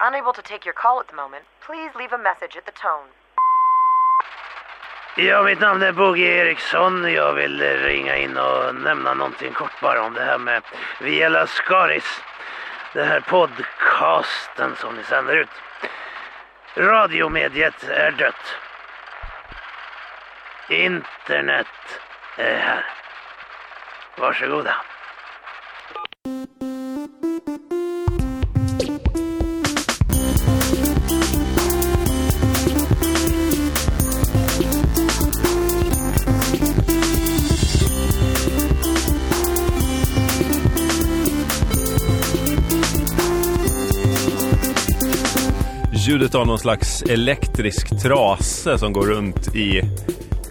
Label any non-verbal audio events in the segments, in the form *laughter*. unable to take your call at the moment, please leave a message at the tone. Ja, mitt namn är Boge Eriksson. Jag vill eh, ringa in och nämna någonting kort bara om det här med Via Lascaris. Den här podcasten som ni sänder ut. Radiomediet är dött. Internet är här. Varsågoda. Ljudet av någon slags elektrisk trase som går runt i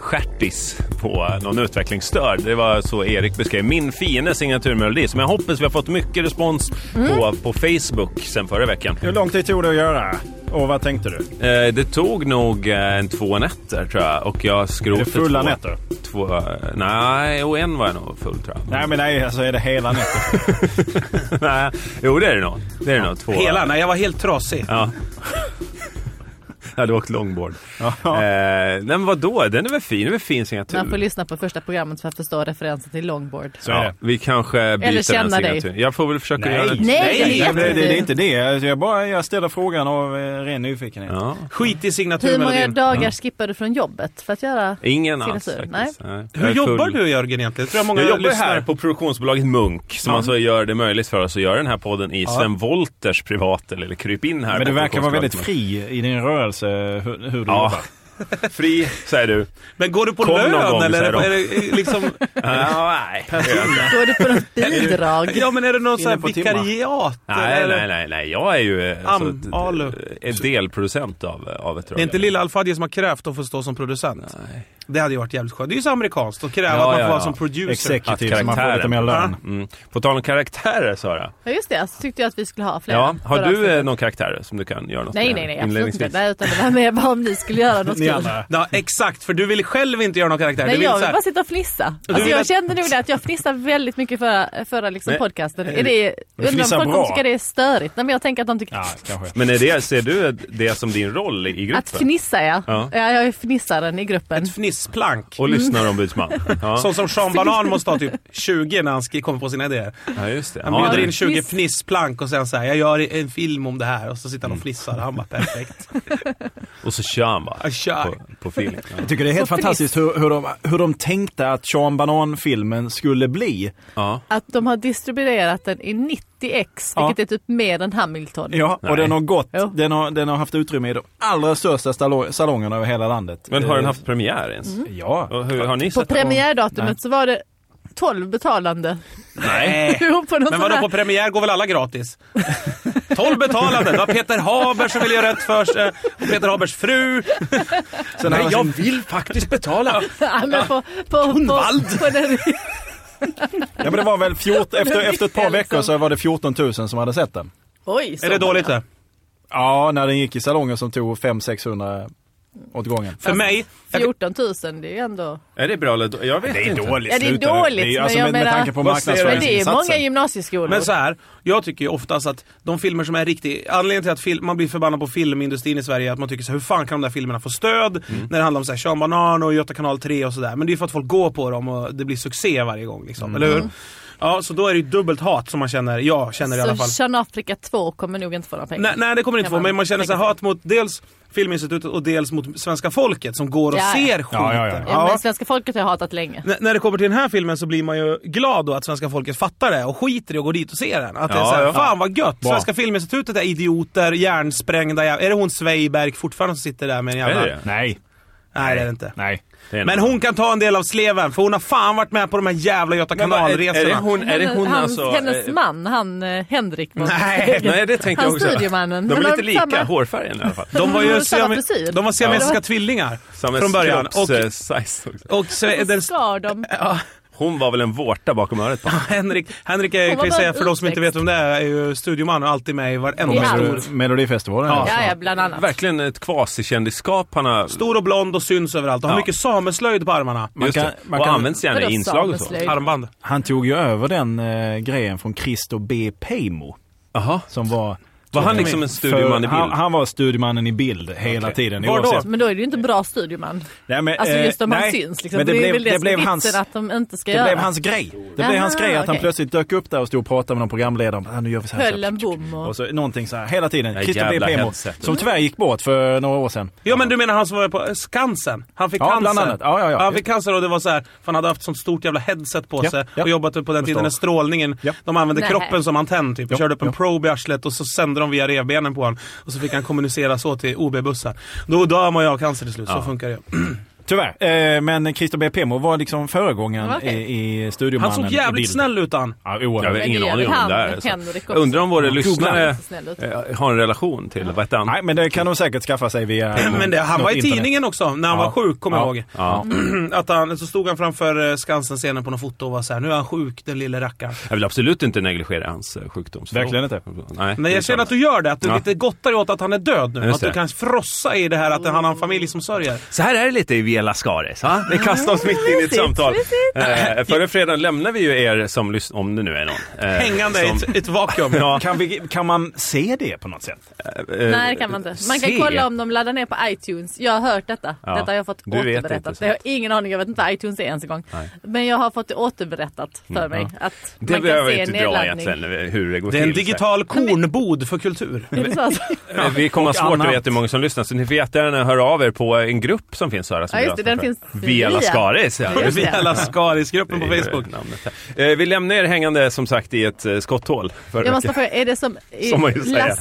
stjärtis på någon utvecklingsstörd. Det var så Erik beskrev min fina signaturmelodi som jag hoppas vi har fått mycket respons Mm. på på Facebook sen förra veckan. Hur lång tid tog det att göra? Och vad tänkte du? Eh, det tog nog eh, en två nätter tror jag och jag skrotade Är det fulla två, nätter? Två, nej, och en var jag nog full tror jag. Nej men nej, alltså är det hela nätet? Nej, jo det är det nog. Det är det nog. Två. Hela? Nej, jag var helt trasig. Ja. *laughs* Jag hade åkt långbord. eh, nej men vadå, den är väl fin, den är väl fin signatur. Man får lyssna på första programmet för att förstå referensen till longboard. Så är det. Vi kanske byter Eller känna den dig. signaturen. Jag får väl försöka Nej. göra det. Nej, Nej, jag Nej, vet det, det, det är inte inte. det. Alltså, Jag, bara, jag ställer frågan av eh, ren nyfikenhet. Ja. Skit i Hur många signaturmelodin. dagar skippar du från jobbet för att göra? Ingen alls Signatur, faktiskt. nej. Nej. Jag Hur är jobbar full. du Jörgen egentligen? Tror jag många Jag jobbar lyssnar här på produktionsbolaget Munk som alltså gör det möjligt för oss att göra den här podden i Sven Wolters privata eller kryp in här. Men på du verkar vara väldigt produktionsbolaget fri i din rörelse hur, Ja. hur du *laughs* jobbar. Fri, säger du. Men går du på Kom någon lön gång, eller är säger det, är *laughs* det liksom... Ah, nej. Går du på något bidrag? Ja men är det någon sån här på timmar. vikariat? Nej, eller? nej, nej, nej. Jag är ju eh, Am- alltså, d- d- alu. en delproducent av, av ett Det är rörelse. inte Lilla Alfadje som har krävt att få stå som producent? Nej. Det hade ju varit jävligt skönt. Det är ju så amerikanskt att kräva Ja, att man får ja, vara ja. som producer. Executive Att så man får lite karaktären. mer lön. Mm. På tal om karaktärer Sara. Ja just det, så tyckte jag att vi skulle ha flera. Ja, har förra du avsnittet. eh, någon karaktär som du kan göra något Nej, med nej, nej, absolut inte. inledningsvis? Nej, utan det var mer bara om ni skulle göra något Ni kul. andra. Ja, exakt. För du vill själv inte göra någon karaktär. du Nej, vill jag så vill här, bara sitta och fnissa. Alltså, vill jag att- kände nog det att jag fnissade väldigt mycket förra, förra liksom Men- podcasten. Är det, undrar om fnissar folk kommer bra. tycka det är störigt? Nej, men jag tänker att de tycker Ja, kanske. Men är det, ser du det som din roll i i gruppen? att fnissa ja. Ja. ja. Jag är fnissaren i gruppen. ett fnissplank. Mm. Och *laughs* lyssnarombudsman? Ja, Sånt som Sean Banan måste ha typ 20 när han sk- kommer på sina idéer. ja just det. Han Ja, bjuder det- in 20 Fniss. fnissplank och sen säger jag gör en film om det här och så sitter han och fnissar. Han bara perfekt. Och så kör han bara. Jag Ah, kör. På, på *laughs* feeling. Ja. Jag tycker det är helt Så fantastiskt hur, hur, de, hur de tänkte att Sean Banan-filmen skulle bli. Ja. Att de har distribuerat den i 90x, Ja. vilket är typ mer än Hamilton. Ja, och den har gått. Jo. Den har, den har haft utrymme i de allra största stalo- salongerna över hela landet. Men har den Eh, haft premiär ens? Ja. Och hur, har ni Mm. På sett den? premiärdatumet Nej. så var det 12 betalande. *laughs* Nej. Jo, på något Eh. Men sånt vadå här. på premiär går väl alla gratis? 12 betalande. Det var Peter Haber som ville göra rätt för sig. Och Peter Habers fru. Sen har den- vill faktiskt betala. Ja, men på, på, på, Hundvald. på den, ja, men det var väl *laughs* 14, efter, efter ett par Liksom. veckor så var det 14 000 som hade sett den. Oj, så Är det dåligt det? Ja, när den gick i salongen som tog 500-600 åt gången. För mig, många. 14 000, det är ju ändå... Är det bra eller då- Jag vet inte. dåligt. Ja, det är sluta nu. dåligt, ju- men alltså, jag med, med menar- tanke på Vad ser du? Men det är många marknadsföringsinsatsen. gymnasieskolor. Men så här, jag tycker ju oftast att de filmer som är riktigt Anledningen till att film, man blir förbannad på filmindustrin i Sverige är att man tycker så här, hur fan kan de där filmerna få stöd? När det handlar om så här, Sean Banan och Göta kanal 3 och sådär. Men det är ju för att folk går på dem och det blir succé varje gång liksom, eller hur? Ja, så då är det ju dubbelt hat som man känner, jag känner i alla fall. Så Kärnafrika 2 kommer nog inte få några pengar. Nej, nej det kommer det inte Kan få, man men man känner så här tänka sig. hat mot dels Filminstitutet och dels mot svenska folket som går och Ja, ja. ser skiten. Ja, ja, ja. Ja, men svenska folket har jag hatat länge. N- när det kommer till den här filmen så blir man ju glad då att svenska folket fattar det och skiter i att gå dit och se den. Att det är Ja, såhär, ja. fan vad gött! Bra. Svenska Filminstitutet är idioter, hjärnsprängda jäv- Är det hon Sveiberg fortfarande som sitter där med en jävla... Är det det? Nej, Nej det är det inte. nej. Det är Men hon kan ta en del av sleven för hon har fan varit med på de här jävla Göta Men vad- är, är det kanalresorna. hon, är det hon Hennes- alltså... hennes eh, man, han eh, Henrik. var- Nej, Nej, det tänkte jag Han också. studiomannen. De är Han lite har lika, samma- hårfärgen i alla fall. De var ju Hon siame- samma frisyr. de var siamesiska Ja. tvillingar Samma från början. Och, kropps, eh, size också. och sve- den, Så skar de. Hon var väl en vårta bakom örat på honom. Henrik, Henrik är, Hon var kan jag bara säga en för de som inte vet utväxt. om det är, är ju studioman och alltid med i varenda I ja. allt. stor. Melodi- Melodifestivalen. Ja. alltså. Ja, ja, bland annat. Verkligen ett kvasikändisskap han har. Stor och blond och syns överallt och har Ja. mycket sameslöjd på armarna. Man Just kan- det. man och kan- används gärna i Vadå, inslag och så. sameslöjd? Armband. Han tog ju över den eh, grejen från Christer B. Pejmo Jaha. som var Var han liksom en studieman i bild? Han, han var studiemannen i bild hela Okej. tiden. Var då? oavsett. Men då är det ju inte bra studioman. Nej, men, Alltså eh, just om han nej. syns liksom. Men det, det, är blev, väl det, det som blev är hans, vitsen att de inte ska det göra. blev hans grej. Det blev hans Aha, grej att han okej. plötsligt dök upp där och stod och pratade med någon programledare. Ah, nu gör vi så här. Höll en bom och... Och så någonting så här hela tiden. Det Christer B. jävla Pemo. headsetet. Som tyvärr gick bort för några år sedan. Ja men du menar han som var på Skansen? Han fick Ja, cancer. bland annat. Ja, ja, ja. Han fick cancer och det var så här, för han hade haft sånt stort jävla headset på Ja, sig ja. och jobbat på den tiden när strålningen, Ja. de använde Nej. kroppen som antenn typ. Ja, Körde upp en ja. probe i arslet och så sände de via revbenen på honom. Och så fick han kommunicera så till OB-bussar. Då dör man ju av cancer till slut, så funkar det. Tyvärr. Eh, men Christer B. Pemo var liksom föregångaren Okej. i, i studiomannen Han såg i bild. jävligt snäll ut han. Ja, Jag oerhört. har Men ingen det gör aning om väl det där. han, alltså. Henrik Jag undrar om våra lyssnare så snäll ut. eh, har en relation till, vad hette han? Nej, men det kan de säkert skaffa sig via Men det, han Mm. något var i internet. tidningen också, när han Ja. var sjuk, kommer Ja. jag ihåg. Ja. Att han, så stod han framför eh, Skansen-scenen på något foto och var så här: nu är han sjuk, den lille rackaren. Jag vill absolut inte negligera hans eh, sjukdom. så- Verkligen inte. Nej, Men jag känner att du gör det, att du Ja. lite gottar dig åt att han är död nu. Just Att du det. kan frossa i det här att han har en familj som sörjer. Så här är det lite i Vela Skaris. va? Vi kastar oss mitt in i ett samtal. Eh, förra fredagen lämnade vi ju er som lyssnar, om det nu är någon. eh, Hängande i som- ett, ett vakuum. Ja, Kan, vi, kan man se det på något sätt? eh, Nej, det kan man inte. Man kan se. kolla om de laddar ner på iTunes. Jag har hört detta. Ja. Detta har jag fått Du vet inte, återberättat. sant? Jag har ingen aning, jag vet inte vad iTunes är ens en gång. Men jag har fått det återberättat för mig. Att Det man kan behöver vi se inte dra nedladdning. egentligen, eh, hur det går Det till. är en så här. digital kornbod för kultur. Är det så alltså? Eh, Vi kommer ha svårt annat. att veta hur många som lyssnar, så ni får jättegärna höra av er på en grupp som finns här. Som Ja, just det, vi har den finns startat. Via Lascaris. Ja, Just det. Via Lascaris-gruppen på Facebook. Eh, Vi lämnar er hängande som sagt i ett eh, skotthål. För Jag måste fråga, är det som i Som man ju säger.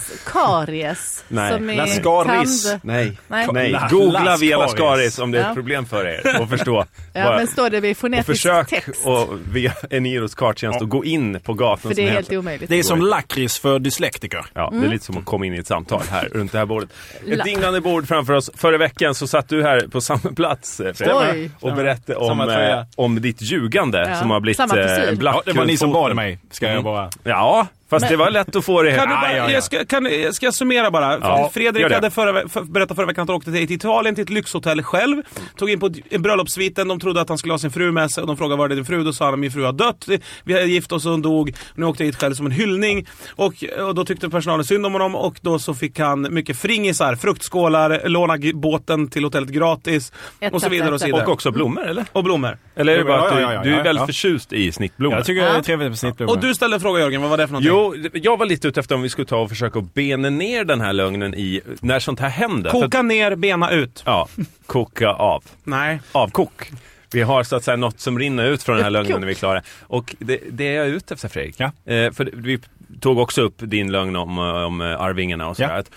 Laskaries? Nej, som i Laskaris. tand- Nej, Nej. nej. La- Googla Via Lascaris. Lascaris om det är ett Ja. problem för er att förstå. *laughs* Ja, Bara- men står det vid och fonetisk försök text? och via Eniros karttjänst och gå in på gatan För det som är helt heter- omöjligt. Det är som lakrits för dyslektiker. Ja, det är lite som att komma in i ett samtal här runt det här bordet. Ett Mm. *laughs* La- dignande bord framför oss. Förra veckan så satt du här på samma plats eh, Fredrik, Oj. och berättade om, Samma tröja. eh, om ditt ljugande Ja. som har blivit Samma frisyr. eh, en black Ja, det var ni som runt foten. bad mig, ska jag bara... Ja, fast det var lätt att få det. Kan du bara, Ah, ja, ja. Jag ska, kan, jag ska summera bara. Ja, gör Fredrik det. hade förra, ve- för, berättat förra veckan att han åkte till Italien till ett lyxhotell själv. Tog in på d- en bröllopssviten, de trodde att han skulle ha sin fru med sig och de frågade var är din fru? Då sa han min fru har dött, vi har gift oss och hon dog. Nu åkte jag hit själv som en hyllning. Och, och då tyckte personalen synd om honom och då så fick han mycket fringisar, fruktskålar, låna g- båten till hotellet gratis Ett, och så vidare och så ett, ett. vidare. Och också blommor, eller? och blommor. Eller är det Ja, bara att ja, du, ja, ja, du är ja, väldigt ja. förtyst i snittblommor? Jag tycker det är trevligt med snittblommor. Och du ställde en fråga Jörgen, vad var det för någonting? Jo, jag var lite ute efter om vi skulle ta och försöka bena ner den här lögnen i när sånt här händer. För att- Koka ner, bena ut. Ja, koka av. Nej. Avkok. Vi har så att säga något som rinner ut från den här Ett lögnen kok. när vi är klara. Och det, det är jag ute efter Fredrik. Ja. Eh, för vi tog också upp din lögn om, eh, om eh, Arvingarna och sådär. Ja. Att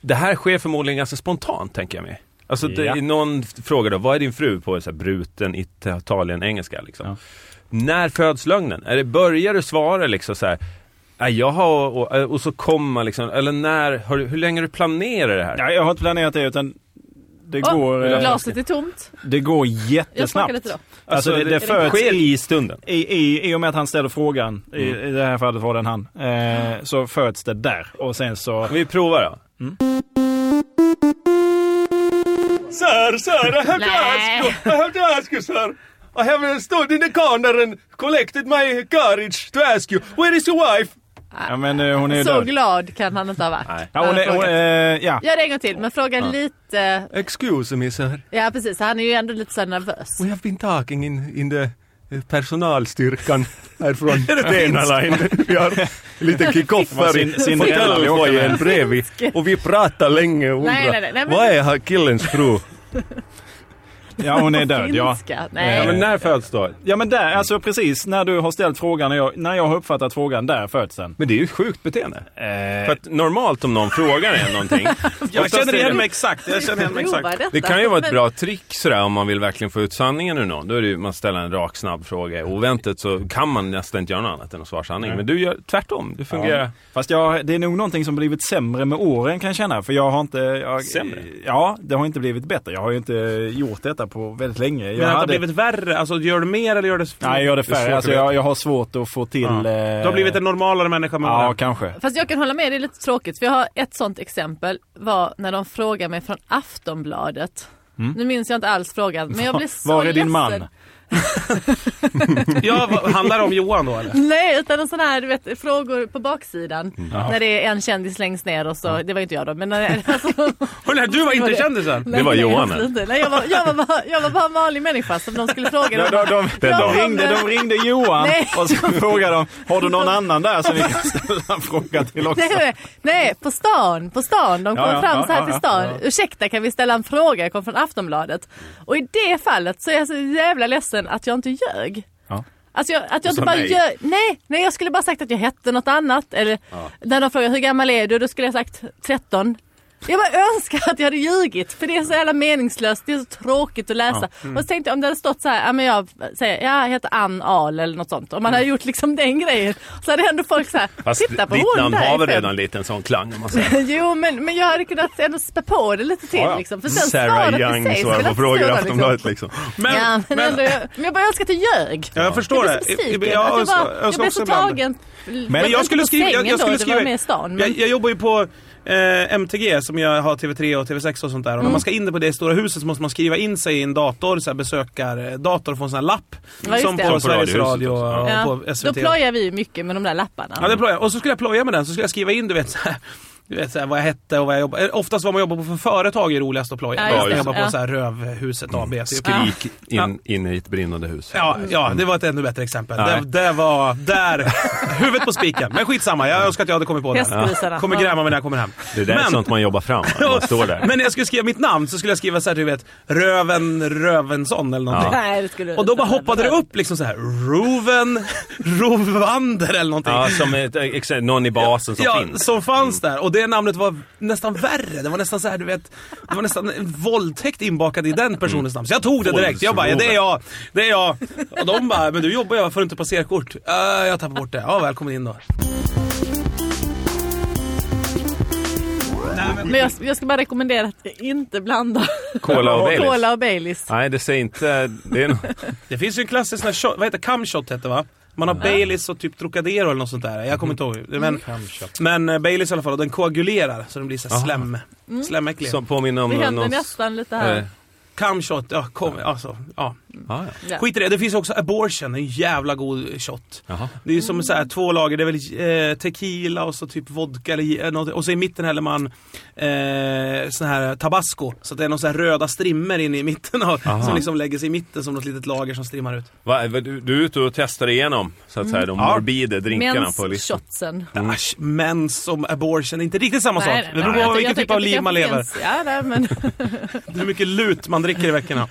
Det här sker förmodligen ganska spontant tänker jag mig. Alltså det, Ja. någon frågar då, vad är din fru på så här, bruten Italien-engelska liksom? Ja. När föds lögnen? Är det, börjar du svara liksom så här, "Nej, jag har, och, och så kommer man liksom, eller när, har du, hur länge har du planerat det här? Nej, jag har inte planerat det utan det, Åh, går, eh, glaset är tomt. det går Jag smakar jättesnabbt. lite då. Alltså det, det föds sker i, i stunden. i, i, i och med att han ställer frågan, i, Mm. i det här fallet var den han, eh, så föds det där. Och sen så... Vi provar då. Sir, sir, I have to Nej. ask you, I have to ask you sir. I have stood in the corner and collected my courage to ask you, where is your wife? Ja men eh, hon är ju Så död. glad kan han inte ha varit. Nej. Ja, hon är, hon, eh, ja. Gör det en gång till, men fråga lite. Excuse me sir, Ja precis, han är ju ändå lite så här nervös. we have been talking in, in the eh, personalstyrkan här *laughs* från Stena Line. Vi har *laughs* lite kick-off här i Sin- Cinderella vi åker hotellfoajén bredvid. Och vi pratar länge och Nej, nej, nej, nej, undrar, men- vad är här killens fru? ja, hon är död ja. Finska. Ja, Nej. men när föds då? Ja men där, alltså precis när du har ställt frågan och jag, när jag har uppfattat frågan, där föds den. Men det är ju ett sjukt beteende. Eh. För att normalt om någon frågar en *laughs* någonting. Jag oftast känner är det- igen mig exakt. Jag känner igen mig Prova exakt. detta. Det kan ju vara ett Men- bra trick sådär om man vill verkligen få ut sanningen ur någon. Då är det ju, man ställer en rak snabb fråga. Oväntat så kan man nästan inte göra något annat än att svara sanningen. Men du gör tvärtom. Du fungerar. Eh, Fast jag, det är nog någonting som blivit sämre med åren kan jag känna. För jag har inte... Jag, Sämre? Ja, det har inte blivit bättre. Jag har ju inte gjort detta på väldigt länge. Jag Men att det har hade- blivit värre? Alltså gör du mer eller gör du... Nej, jag gör det är svårt färre. att Alltså, veta. jag, jag har svårt att få till... Ja. eh, Du har blivit en normalare människa med Ja, åren. kanske. Fast jag kan hålla med, det är lite tråkigt. För jag har ett sånt exempel var när *laughs* de frågade mig från Aftonbladet. Nu minns jag inte alls frågan, men jag blev så Mm. Var är din ledsen. man? Ja, vad, handlar det om Johan då *laughs* eller? Nej, utan en sån här du vet, frågor på baksidan. Mm. När det är en kändis längst ner och så, det *laughs* var ju inte jag då, men när, alltså, Hörru, nej, du var inte kändisen! Det var nej, Johan, absolut inte. Nej, jag, var, jag, var bara, jag var bara en vanlig människa som de *laughs* skulle De, fråga. de, *laughs* de, Den dagen. de, ringde, de ringde Johan Nej. och så frågade de, har du någon annan där som vi kan ställa en fråga till också? Nej, nej, nej, på stan, på stan. De kom Ja, ja, fram ja, så här ja, till ja, stan. Ursäkta, kan vi ställa en fråga? Jag kom från Aftonbladet. Och i det fallet så är jag så jävla ledsen att jag inte ljög. Ja. Alltså jag, att jag inte sa bara nej. ljög. Nej, nej, jag skulle bara sagt att jag hette något annat. Eller när de frågar hur gammal är du? Då skulle jag sagt 13. Jag bara önskar att jag hade ljugit för det är så jävla meningslöst, det är så tråkigt att läsa. mm. Och så tänkte jag om det hade stått så här, ja, men jag, säger, ja, jag heter Ann Ahl eller något sånt. Om man hade gjort liksom den grejen så hade ändå folk så här, Fast titta på ditt hon namn där har väl i fem." redan lite en sån klang om man säger. *laughs* Jo, men, men jag hade kunnat ändå spä på det lite till. Ja, ja. Liksom. För sen Sarah svaret i sig Young skulle svarar inte på frågor i stå där, Aftonbladet liksom. Men, Ja, men, men, ändå, jag, men jag bara önskar att jag ljög. Ja, jag Jag förstår blev det. så besviken. Jag- jag att jag, bara, önskar- önskar jag blev också så ibland. tagen. Men jag skulle skriva... Jag, jag skulle skriva Jag var med i stan. jag, Men, jag jobbar ju på eh, MTG som jag har TV3 och TV6 och sånt där. Och Mm. när man ska in på det stora huset så måste man skriva in sig i en dator, så här besökardator och få en sån här lapp. Ja, just som det. på Som på Sveriges Radio Radiohuset och, också. ja, på SVT. då plojar vi ju mycket med de där lapparna. Ja, det plojade jag. Och så skulle jag ploja med den, så skulle jag skriva in du vet så här, du vet så här, vad jag hette och vad jag jobbade. eh, Oftast vad man jobbar på för företag är roligast att ploja. Ja, Ja, just jag det. jobbar på Ja. så här Rövhuset Mm. AB. typ. Skrik in, in i ett brinnande hus. Ja, ja, det var ett ännu bättre exempel. Nej. Det, det var där. *laughs* Huvudet på spiken. Men skitsamma, jag önskar att jag hade kommit på det. Hästgrisarna. Kommer Ja. gräma mig när jag kommer hem. Det där är Men- sånt man jobbar fram, va? *laughs* man står där. Men när jag skulle skriva mitt namn så skulle jag skriva så här, du vet, Röven Rövensson eller någonting. Nej, det skulle du Och då inte. bara hoppade det upp liksom så här, Roven *laughs* Rovander eller någonting. Ja, som ett, exa- någon i basen som ja, finns. Mm. som fanns där. Och det namnet var nästan värre. Det var nästan så här, du vet, det var nästan en våldtäkt inbakad i Mm. den personens namn. Så jag tog det direkt. Jag bara, ja, det är jag, det är jag. Och de bara, men du jobbar ju, varför har du inte passerkort? Uh, jag tappar bort det. Ja, välkommen in då. Men jag, jag ska bara rekommendera att inte blanda Cola och Baileys. Cola och Baileys. Nej, det säger inte... Det är *laughs* nog... Det finns ju en klassisk sån här shot, vad heter Camshot hette va? Man har Baileys och typ Trocadero eller något sånt där. Jag Mm. kommer inte ihåg. Men, men eh, Baileys i alla fall, och den koagulerar så den blir så här slem. Slemäcklig. Mm. Som påminner om Det händer någon... nästan lite Eh, här. Camshot, ja kom, alltså. Ja. ah, ja. Ja. Skit i det, det finns också Abortion, en jävla god shot. Jaha. Det är ju som så här, två lager, det är väl eh, tequila och så typ vodka eller eh, något, Och så i mitten häller man eh, sån här tabasco. Så att det är någon sån här röda strimmer in i mitten av, Aha. som liksom lägger sig i mitten som något litet lager som strimmar ut. Va, va, du, du är ute och testar igenom så att Mm. säga, de morbida drinkarna på listan. Mensshotsen. Asch, men som abortion är inte riktigt samma Nej, sak. nej, Det beror nej. på Jag vilken tänker typ av att det liv kanske man lever. finns- Ja, nej, men Hur mycket lut man dricker i veckorna.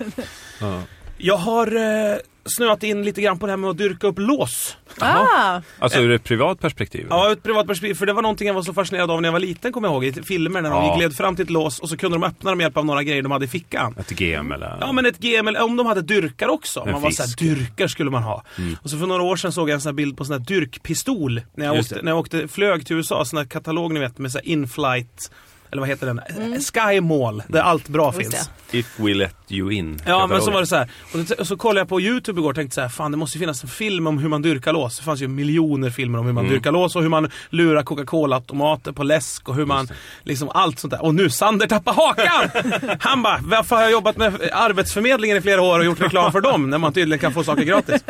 Jag har eh, snöat in lite grann på det här med att dyrka upp lås. Ah, Alltså ur ett privat perspektiv? Ja, ur ett privat perspektiv. För det var någonting jag var så fascinerad av när jag var liten, kommer jag ihåg. I filmer när de Ja. gled fram till ett lås och så kunde de öppna det med hjälp av några grejer de hade i fickan. Ett GM eller? Ja men ett GML, om de hade dyrkar också. En Man var såhär, fisk. Mm. dyrkar skulle man ha. Och så för några år sedan såg jag en sån här bild på sån här dyrkpistol. När jag, Just åkte, det. när jag åkte, flög till USA, sån här katalog ni vet med såhär inflight, eller vad heter den? Sky Mall, där allt bra Just finns. If we let you in. Ja men så var det så här. Och, det, och så kollade jag på YouTube igår och tänkte så här, fan det måste ju finnas en film om hur man dyrkar lås. Det fanns ju miljoner filmer om hur man dyrkar lås och hur man lurar Coca-Cola-automater på läsk och hur man, liksom allt sånt där. Och nu Sander tappar hakan! Han bara, varför har jag jobbat med Arbetsförmedlingen i flera år och gjort reklam för dem när man tydligen kan få saker gratis?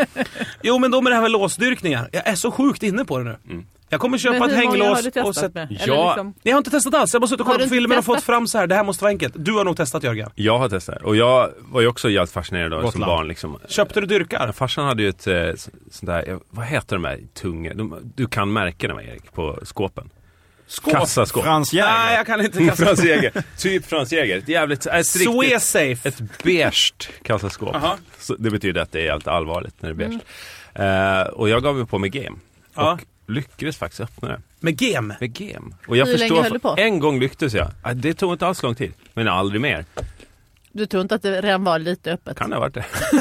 Jo men då med det här med låsdyrkningar, jag är så sjukt inne på det nu. Jag kommer men köpa ett hur många har hänglås du och testat sätta... med? Ja. Eller liksom- Nej, Jag har inte testat alls, jag har bara suttit och Har kollat du på inte filmer och fått testat? fram så här. det här måste vara enkelt. Du har nog testat Jörgen. Jag har testat och jag var ju också helt fascinerad av som Gotland. barn. Liksom. Köpte du dyrkar? Farsan hade ju ett eh, så- sånt där, eh, vad heter de här tunga, de, du kan märkena va, Erik, på skåpen? Skåp? Kassaskåp. Frans Nej, Jäger. jag kan inte *laughs* kasta. Frans Jäger. Typ Frans Jäger. Ett jävligt, ett Så är riktigt, safe. ett beige kassaskåp. Aha. Så det betyder att det är helt allvarligt när det är beige. Eh, och jag gav mig på med game. Mm. Ja. Och lyckades faktiskt öppna det. Med gem. Med game. Och jag Hur länge förstår, höll du på? en gång lyckades jag. Ah, Det tog inte alls lång tid. Men aldrig mer. Du tror inte att det redan var lite öppet? Kan det ha varit *laughs* det? *laughs*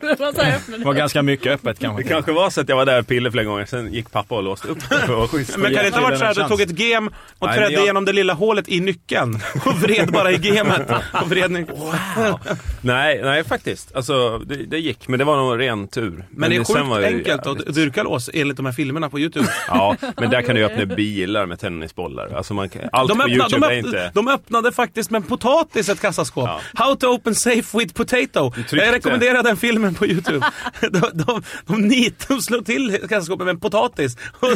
Det var så här öppet. Det var ganska mycket öppet Det kanske. kanske var så att jag var där och pillade flera gånger, sen gick pappa och låste upp det för att vara schysst. Men kan det inte ha varit så här att du chans. tog ett gem och Nej, trädde men jag- igenom det lilla hålet i nyckeln *laughs* och vred bara i gemet? Och vred nyc- Nej, nej faktiskt. Alltså, det, det gick, men det var nog ren tur. Men, Men det är sen sjukt var det enkelt att jävligt- dyrka lås enligt de här filmerna på YouTube. Ja, men där kan du öppna bilar med tennisbollar. Alltså man kan, allt De på öppnade, Youtube de, är öppnade, inte... de öppnade faktiskt med en potatis ett kassaskåp. Ja. How to open safe with potato. tryckte. Jag rekommenderar den filmen på YouTube. *laughs* De, de, de, nit, de slår till kassaskåpet med en potatis *laughs* och,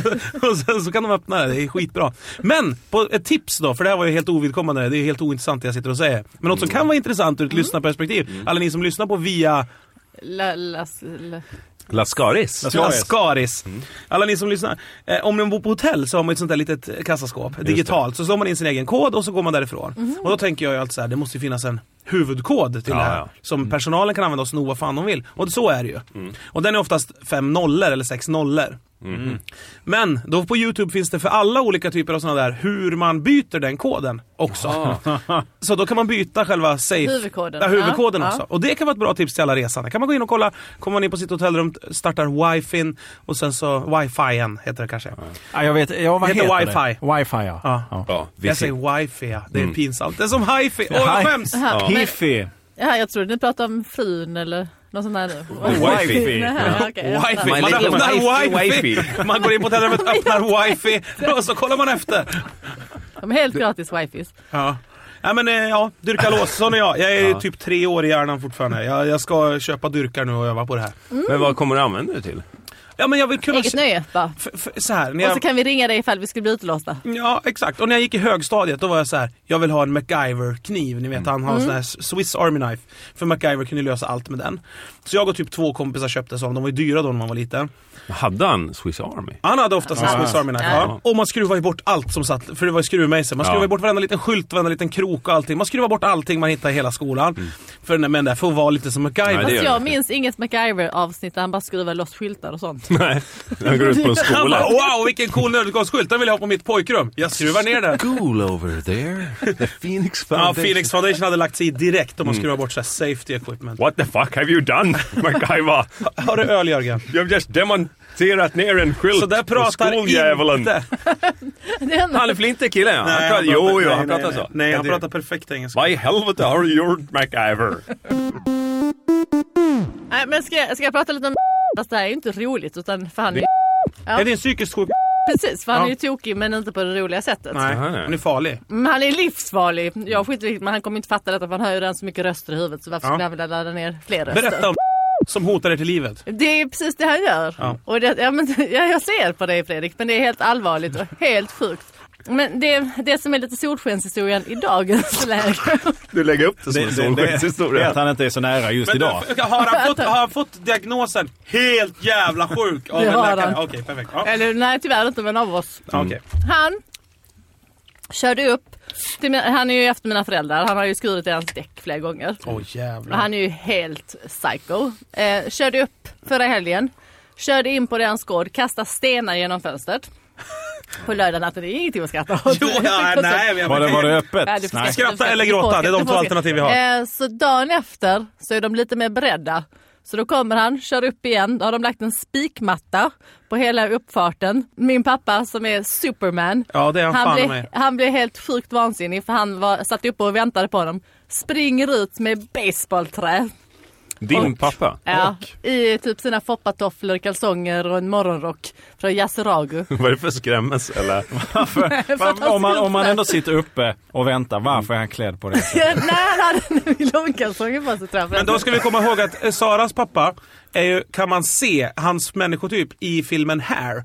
och sen så kan de öppna det. Det är skitbra. Men på ett tips då, för det här var ju helt ovidkommande. Det är ju helt ointressant det jag sitter och säger. Men något som Mm. kan vara intressant ur ett lyssnarperspektiv. Alla ni som lyssnar på via La, las- la. Lascaris. Ascaris. Mm. Alla ni som lyssnar. Eh, om ni bor på hotell så har man ju ett sånt där litet eh, kassaskåp digitalt. Så slår man in sin egen kod och så går man därifrån. Och då tänker jag ju alltid så här, det måste ju finnas en huvudkod till det här. ja. Mm. Som personalen kan använda och sno vad fan de vill. Och så är det ju. Och den är oftast fem nollor eller sex nollor. Mhm. Mm. Men då på Youtube finns det för alla olika typer av sådana där hur man byter den koden också. Så då kan man byta själva safe... Huvudkoden. Ja, huvudkoden Ja, också. ja. Och det kan vara ett bra tips till alla resande. kan man gå in och kolla, kommer man in på sitt hotellrum, startar wifin och sen så wifien heter det kanske. Ja, jag vet, ja, vad Heter heter, wifi. det? Wifi, ja. Ja. ja. Ja, vi Jag ser- säger wifi, ja. det är pinsamt. Det är som hifi. Åh, jag Hi- skäms! Ja, men, Hifi. ja, jag trodde ni pratade om frun eller något sånt där nu. Wifi. Nej, okej, jag Wifi. fattar. My Man little öppnar wifey, wifi. Man går in på *laughs* hotellrummet, öppnar wifi och så kollar man efter. De är helt gratis wifis. Ja. Ja men eh, ja, dyrka lås. Sån är jag. Jag är typ tre år i hjärnan fortfarande. Jag, jag ska köpa dyrkar nu och öva på det här. Men vad kommer du använda det till? Ja men jag vill kunna... Eget nöje bara. F- f- så här, när Och jag... så kan vi ringa dig ifall vi skulle bli utelåsta. Ja, exakt. Och när jag gick i högstadiet då var jag så här: jag vill ha en MacGyver-kniv. Ni vet, han har en sån här Swiss Army Knife. För MacGyver kunde lösa allt med den. Så jag och typ två kompisar köpte sån. De var ju dyra då när man var liten. Hade han Swiss Army? *laughs* Han hade oftast en Ja. Swiss Army Knife. Ja. Ja. Och man skruvar ju bort allt som satt, för det var ju skruvmejsel. Man skruvar ju Ja. bort varenda liten skylt, varenda liten krok och allting. Man skruvar bort allting man hittar i hela skolan. För, den- men därför var lite som MacGyver. Mm. Nej, det Fast gör Alltså, jag vi. minns inget MacGyver-avsnitt där han bara skruvar loss skyltar *laughs* och sånt. Nej, han går ut på en Han bara, skola. wow vilken cool nödutgångsskylt, den vill jag ha på mitt pojkrum. Jag skruvar *laughs* ner den. School over there. The Phoenix Ja, Foundation. Phoenix Foundation hade lagt sig i direkt Mm. om man skruvar bort så här safety equipment. What the fuck have you done, MacGyver? Har du öl Jörgen? Du har just demonterat ner en skylt Så där på pratar skoldjävulen. inte. Det är ändå- Han är flintig kille. han. Han pratar- pratar- Jo, jo, nej, han nej, pratar nej. så. Nej, han Det- pratar perfekt engelska. Vad i helvete har du gjort, MacGyver? Nej, men ska, jag- ska jag prata lite om Fast det här är ju inte roligt utan för han är Ja. Är det en psykisk sjuk? precis, för han är ju Ja. tokig men inte på det roliga sättet. Nej, Aha. han är farlig. Men han är livsfarlig. Jag skiter riktigt men han kommer inte fatta detta för han har ju redan så mycket röster i huvudet så varför skulle han vilja ladda ner fler röster? Berätta om som hotar dig till livet. Det är precis det han gör. Ja. Och det, ja, men, *laughs* ja, jag ser på dig Fredrik, men det är helt allvarligt och helt sjukt. Men det, det som är lite solskenshistorien i dagens läge. *laughs* Du lägger upp det som Det, en det, det, det är solskenshistoria. att han inte är så nära just idag. Men, har, han fått, har han fått diagnosen helt jävla sjuk av Det en har läkare? han. Okej, perfekt. Ja. Eller nej, tyvärr inte men av oss. Ja, okej. Han körde upp, till, mina- han är ju efter mina föräldrar, han har ju skurit i hans däck flera gånger. Åh jävlar. Och han är ju helt psycho. Eh, körde upp förra helgen, körde in på deras gård, kastade stenar genom fönstret. På lördagnatten, det är ingenting att skratta åt. *laughs* *laughs* Jo, ja, nej, men Var det, var det öppet? Ja, du får Nej. Skratta du får eller du får gråta, se, det är de du får två se. alternativ vi har. Eh, så dagen efter så är de lite mer beredda. Så då kommer han, kör upp igen, då har de lagt en spikmatta på hela uppfarten. Min pappa som är superman, Ja, det är han, fan han, med. blev, han blev helt sjukt vansinnig för han var, satt uppe och väntade på dem. Springer ut med baseballträ Din pappa? ja, i typ sina foppatofflor, kalsonger och en morgonrock *laughs* från Yasuragu. *laughs* Vad är det för skrämmes, eller? *laughs* För att han Om man, ser ut om man sådär. ändå sitter uppe och väntar, varför är han klädd på det sättet? Nej, han hade långkalsonger på sig tror jag. Men då ska vi komma ihåg att eh, Saras pappa är ju, kan man se hans människotyp i filmen Hair.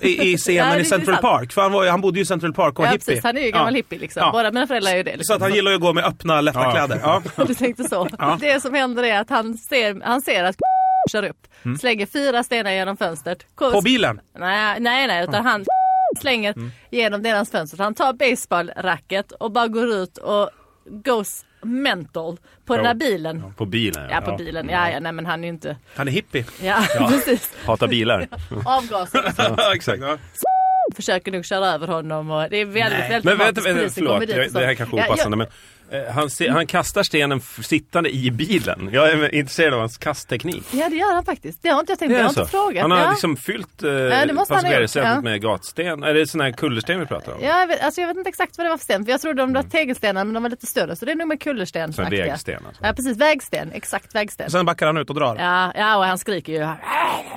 I, i Ja, scenen det är i Central sant. Park. För han, var, ju- han bodde ju i Central Park och var ja, hippie. precis, han är ju gammal Ja. hippie liksom. Ja. Båda mina föräldrar är ju det. Så Liksom. att han gillar ju att gå med öppna, lätta Ja. kläder. Ja. Du tänkte *laughs* så. Det som händer är att han ser, han ser att kör upp, slänger fyra stenar genom fönstret. Kom- Mm. På bilen. Nej, nej, nej, utan han slänger Mm. genom deras fönster. Han tar baseballracket och bara går ut och goes mental på den här bilen. På bilen, Ja, på bilen. Ja, ja, nej, men han är ju inte... Han är hippie. Ja, *laughs* precis. Hatar *laughs* bilar. Avgaser. Ja, *laughs* exakt. Ja. Försöker nog köra över honom och det är väldigt, väldigt Men vänta, dramatiskt. vänta Polisen förlåt. kommer dit Jag, och så- det här kanske är Ja, opassande, men eh, han, se, han kastar stenen f- sittande i bilen. Jag är intresserad av hans kastteknik. Ja, ja, det gör han faktiskt. Det har inte jag tänkt på. Det Jag är alltså. har så. inte frågat. Han har ja. liksom fyllt eh, det måste han ha passagerarsätet gjort, ja. med gatsten. Är det sån här kullersten vi pratar om? Ja, jag, vet, alltså jag vet inte exakt vad det var för sten. För jag trodde de var tegelstenar men de var lite större. Så det är nog med kullersten. Mm. Så en vägsten, alltså. Ja precis, vägsten. Exakt vägsten. Sen backar han ut och drar. Ja, ja, och han skriker ju.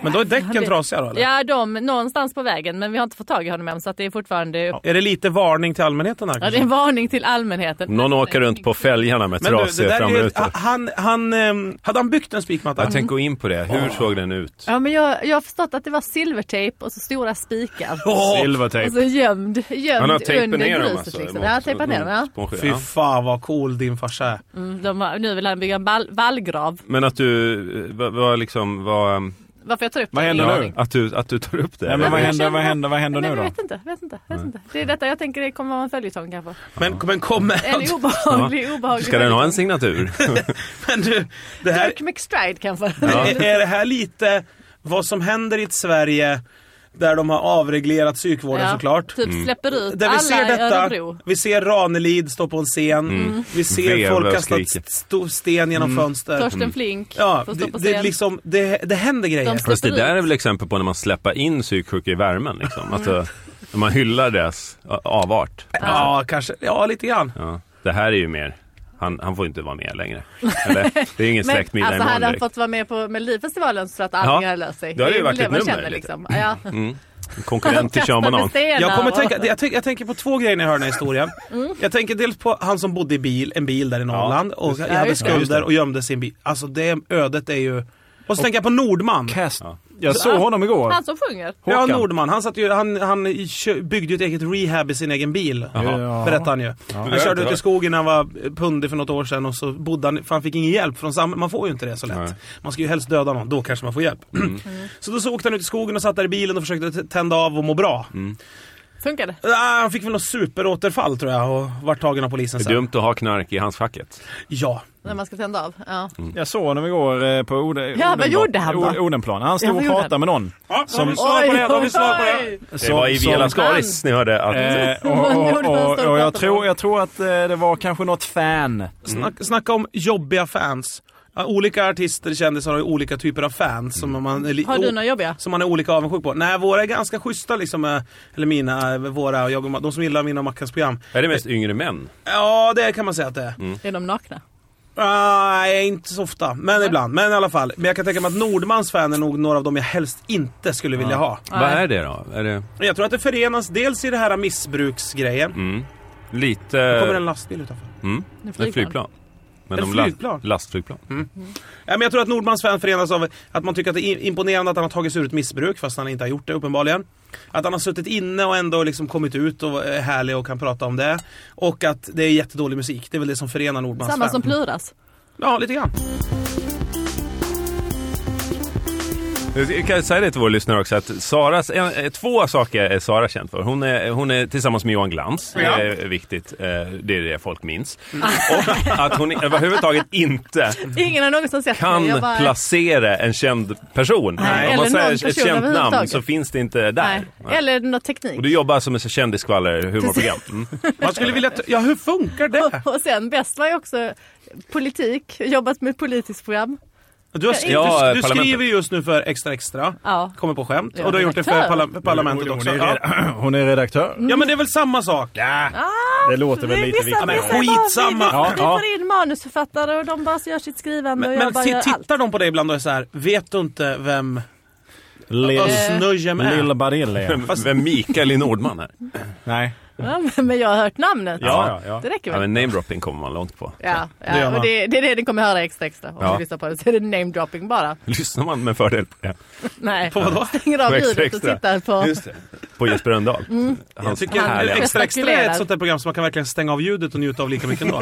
Men då är däcken trasiga då eller? Ja, de någonstans på vägen. Men vi har inte fått tag i honom än så att det är fortfarande... Ja, Är det lite varning till allmänheten här det är en kanske? varning till allmänheten. Någon åker åka runt på fälgarna med Men du, det trasiga där är ju, framrutor. han, han, ehm, hade han byggt en spikmatta? Jag tänkte gå in på det. Hur såg den ut? Ja, men jag, jag har förstått att det var silvertejp och så stora spikar. Åh, Och Silvertejp. så gömd, gömd Ah. Alltså, Han har tejpat under ner dem gruset. alltså. liksom. mot- Ja, tejpat ner dem. Ja. mot- på en skiva. Fy fan vad cool din farsa är. Mm, de har, nu vill han bygga en ball, vallgrav. Men att du, eh, vad vad liksom, vad... Varför jag tar upp Vad det? händer Ingen nu? aning. Att du, att du tar upp det? Nej, men vad eller? händer, vad händer, vad händer Nej, nu men då? jag vet inte, vet inte, vet inte. Det är detta jag tänker det kommer vara en följetong kanske. Men, men kom En igen. obehaglig, obehaglig Ska den ha en signatur? *laughs* Men du, det här, Dirk McStride kanske? är, är det här lite vad som händer i ett Sverige där de har avreglerat psykvården Ja, såklart? Typ släpper ut Där vi alla ser i detta, Örebro. vi ser Ranelid stå på en scen, Mm. vi ser Veva och folk kasta skrika. st- st- sten genom fönster. Torsten Flink Ja, får stå det, på det, är scen. liksom, det, det händer grejer. De- Fast det där är väl exempel på när man släpper in psyksjuka i värmen Mm. liksom. Alltså, när man hyllar deras a- avart. Ja, kanske. Ja, lite grann. Ja. Det här är ju mer, han, han får inte vara med längre. Eller, det är ingen *laughs* Men släktmiddag alltså imorgon hade han direkt. fått vara med på Melodifestivalen så att allting Ja, hade löst sig. då hade det ju är varit väl ett man nummer känner lite. liksom. Ja. Konkurrent till Sean Kastade Banan. stenar Jag, kommer och- tänka, jag, tänk, jag tänker på två grejer när jag hör den här *laughs* historien. Mm. Jag tänker dels på han som bodde i bil, en bil där i Norrland och jag Ja, hade just det. skulder och gömde sin bil. Alltså det ödet är ju... Och så tänker jag på Nordman. Cast. Jag såg honom igår. Han som sjunger. Ja, Håkan. Nordman. Han, satt ju, han, han i- kö- byggde ju ett eget rehab i sin egen bil. Ja. Berättar han ju. Det Han har jag körde inte ut i hört. skogen när han var pundig för något år sedan och så bodde han, för han fick ingen hjälp från samhället. Man får ju inte det så lätt. Nej. Mm. Man ska ju helst döda någon, då kanske man får hjälp. *clears throat* Så då så åkte han ut i skogen och satt där i bilen och försökte t- tända av och må bra. Mm. Funkar det? Ah, han fick väl något superåterfall tror jag och vart tagen av polisen Det är sen. dumt att ha knark i hans facket. Ja. När man ska tända av. Ja. Jag såg honom igår eh, på Ode, Ja, vad Odenplan- gjorde han då? O- Odenplan. Han Ja, stod vad och gjorde pratade han? med någon. ja Som- som svar på det, då har vi svar på det. Det var i som- Vela Skaris ni hörde att Eh, *laughs* och, och, Odenplan och, står och och, jag, pratar tror, med- jag tror att eh, det var kanske något fan. Mm. Snack, Snacka om jobbiga fans. Ja, Olika artister, kändisar har ju olika typer av fans som man, är li- Har du några jobbiga? som man är olika avundsjuk på. Nej, våra är ganska schyssta liksom. eh, Eller mina, eh, våra, och jag och Ma- de som gillar mina och Mackans program. Är det mest yngre män? Ja, det kan man säga att det är. Är de nakna? Ah, Nej, inte så ofta. Men ibland. Men i alla fall. Men jag kan tänka mig att Nordmans fan är nog några av dem jag helst inte skulle vilja ha. Vad är det då? Är det Jag tror att det förenas dels i det här missbruksgrejen. lite... Då kommer en lastbil utanför. En Ett flygplan. Men Ett de la- flygplan? lastflygplan. Ja, men jag tror att Nordmans fan förenas av att man tycker att det är imponerande att han har tagit sig ur ett missbruk, fast han inte har gjort det uppenbarligen. Att han har suttit inne och ändå liksom kommit ut och är härlig och kan prata om det. Och att det är jättedålig musik. Det är väl det som förenar Nordmans Samma fan. som Pluras. Ja, lite grann. Jag kan säga det till våra lyssnare också att Saras, en, eh, två saker är Sara känd för. Hon är, hon är tillsammans med Johan Glans, det är viktigt, eh, det är det folk minns. Och att hon överhuvudtaget inte Ingen har någonsin sett mig. kan Jag bara- placera en känd person. Nej, Om eller man någon säger ett person känt namn överhuvudtaget. så finns det inte där. Nej. Eller någon teknik. Och du jobbar som en kändiskvaller humorprogram. Mm. Man skulle vilja... t- Ja, hur funkar det? Och sen bäst var ju också politik, jobbat med politiskt program. Du, har skrivit, Ja, du, du parlamentet. skriver just nu för Extra Extra. Ja. Kommer på skämt. Ja, och du har gjort det för redaktör. parla- Parlamentet också. Hon är, Ja. reda- hon är redaktör. ja, men det är väl samma sak? Det låter väl Vi- lite vissa- viktigt. men vissa bara- skitsamma. Vi, vi, vi Ja, får in manusförfattare och de bara gör sitt skrivande Men, och jag men bara se- gör allt. tittar de på dig ibland och är så här, vet du inte vem Lill- Özz-Nujem är? Lill Badille. Fast... Vem Mikael i Nordman här? Nej. Ja, men- men jag har hört namnet. Ja, ja. Det räcker Ja, väl? men namedropping kommer man långt på. Ja, ja, Det gör det, man. och det, det är det ni kommer höra extra extra. Om Ja. ni lyssnar på det så är det name dropping bara. Lyssnar man med fördel på det? Nej, På vadå? stänger av På Extra ljudet och Extra. tittar på... Mm. Just det. På Jesper Rönndahl. Jag Hans tycker härliga- Extra Extra är ett Gestikulerar. sånt där program som man kan verkligen stänga av ljudet och njuta av lika mycket *laughs* ändå.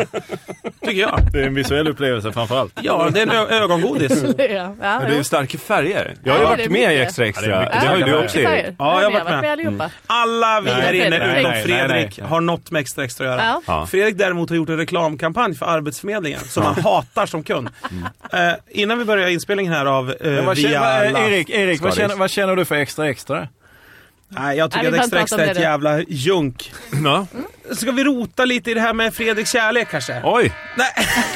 Tycker jag. Det är en visuell upplevelse framförallt. Ja, det är en ö- ögongodis. *laughs* Ja, ja, Men det är ju starka färger. Jag har ju Ja, det varit är med i mycket. Extra Extra. Ja, det är det, mycket. har ju Ja, du det är också Ja, gjort. jag jag har har varit varit med. Mm. med allihopa. Alla vi Nej, här inne Fredrik. utom Nej, nej, nej. Fredrik har något med Extra Extra att göra. Ja. Ja. Fredrik däremot har gjort en reklamkampanj för Arbetsförmedlingen som han hatar som kund. Mm. Eh, innan vi börjar inspelningen här av eh, Vad Via känner, alla... vad- Erik, Erik vad, Skadis. känner, vad känner du för extra extra? Nej, jag tycker Nej, vi att Extra kan prata Extra om är det ett då. jävla junk. Ja. Ska vi rota lite i det här med Fredriks kärlek kanske? Oj! *laughs*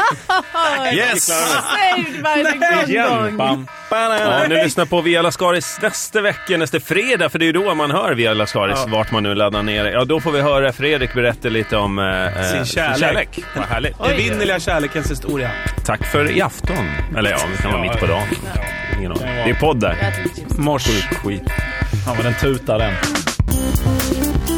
Oj, Yes! Saved by the Igen! gun dong. Bam. Ja, ni lyssnar på Via Lascaris nästa vecka, nästa fredag, för det är ju då man hör Via Lascaris, vart man nu laddar ner det. Ja, då får vi höra Fredrik berätta lite om eh, Sin eh, kärlek. Vad härligt. Den vinnerliga kärlekens historia. Tack för i afton. Eller ja, det kan vara mitt på dagen. Ingen aning. Det är podd där. Jag äter lite chips. Mors. Skit. Ja, men den tutar den.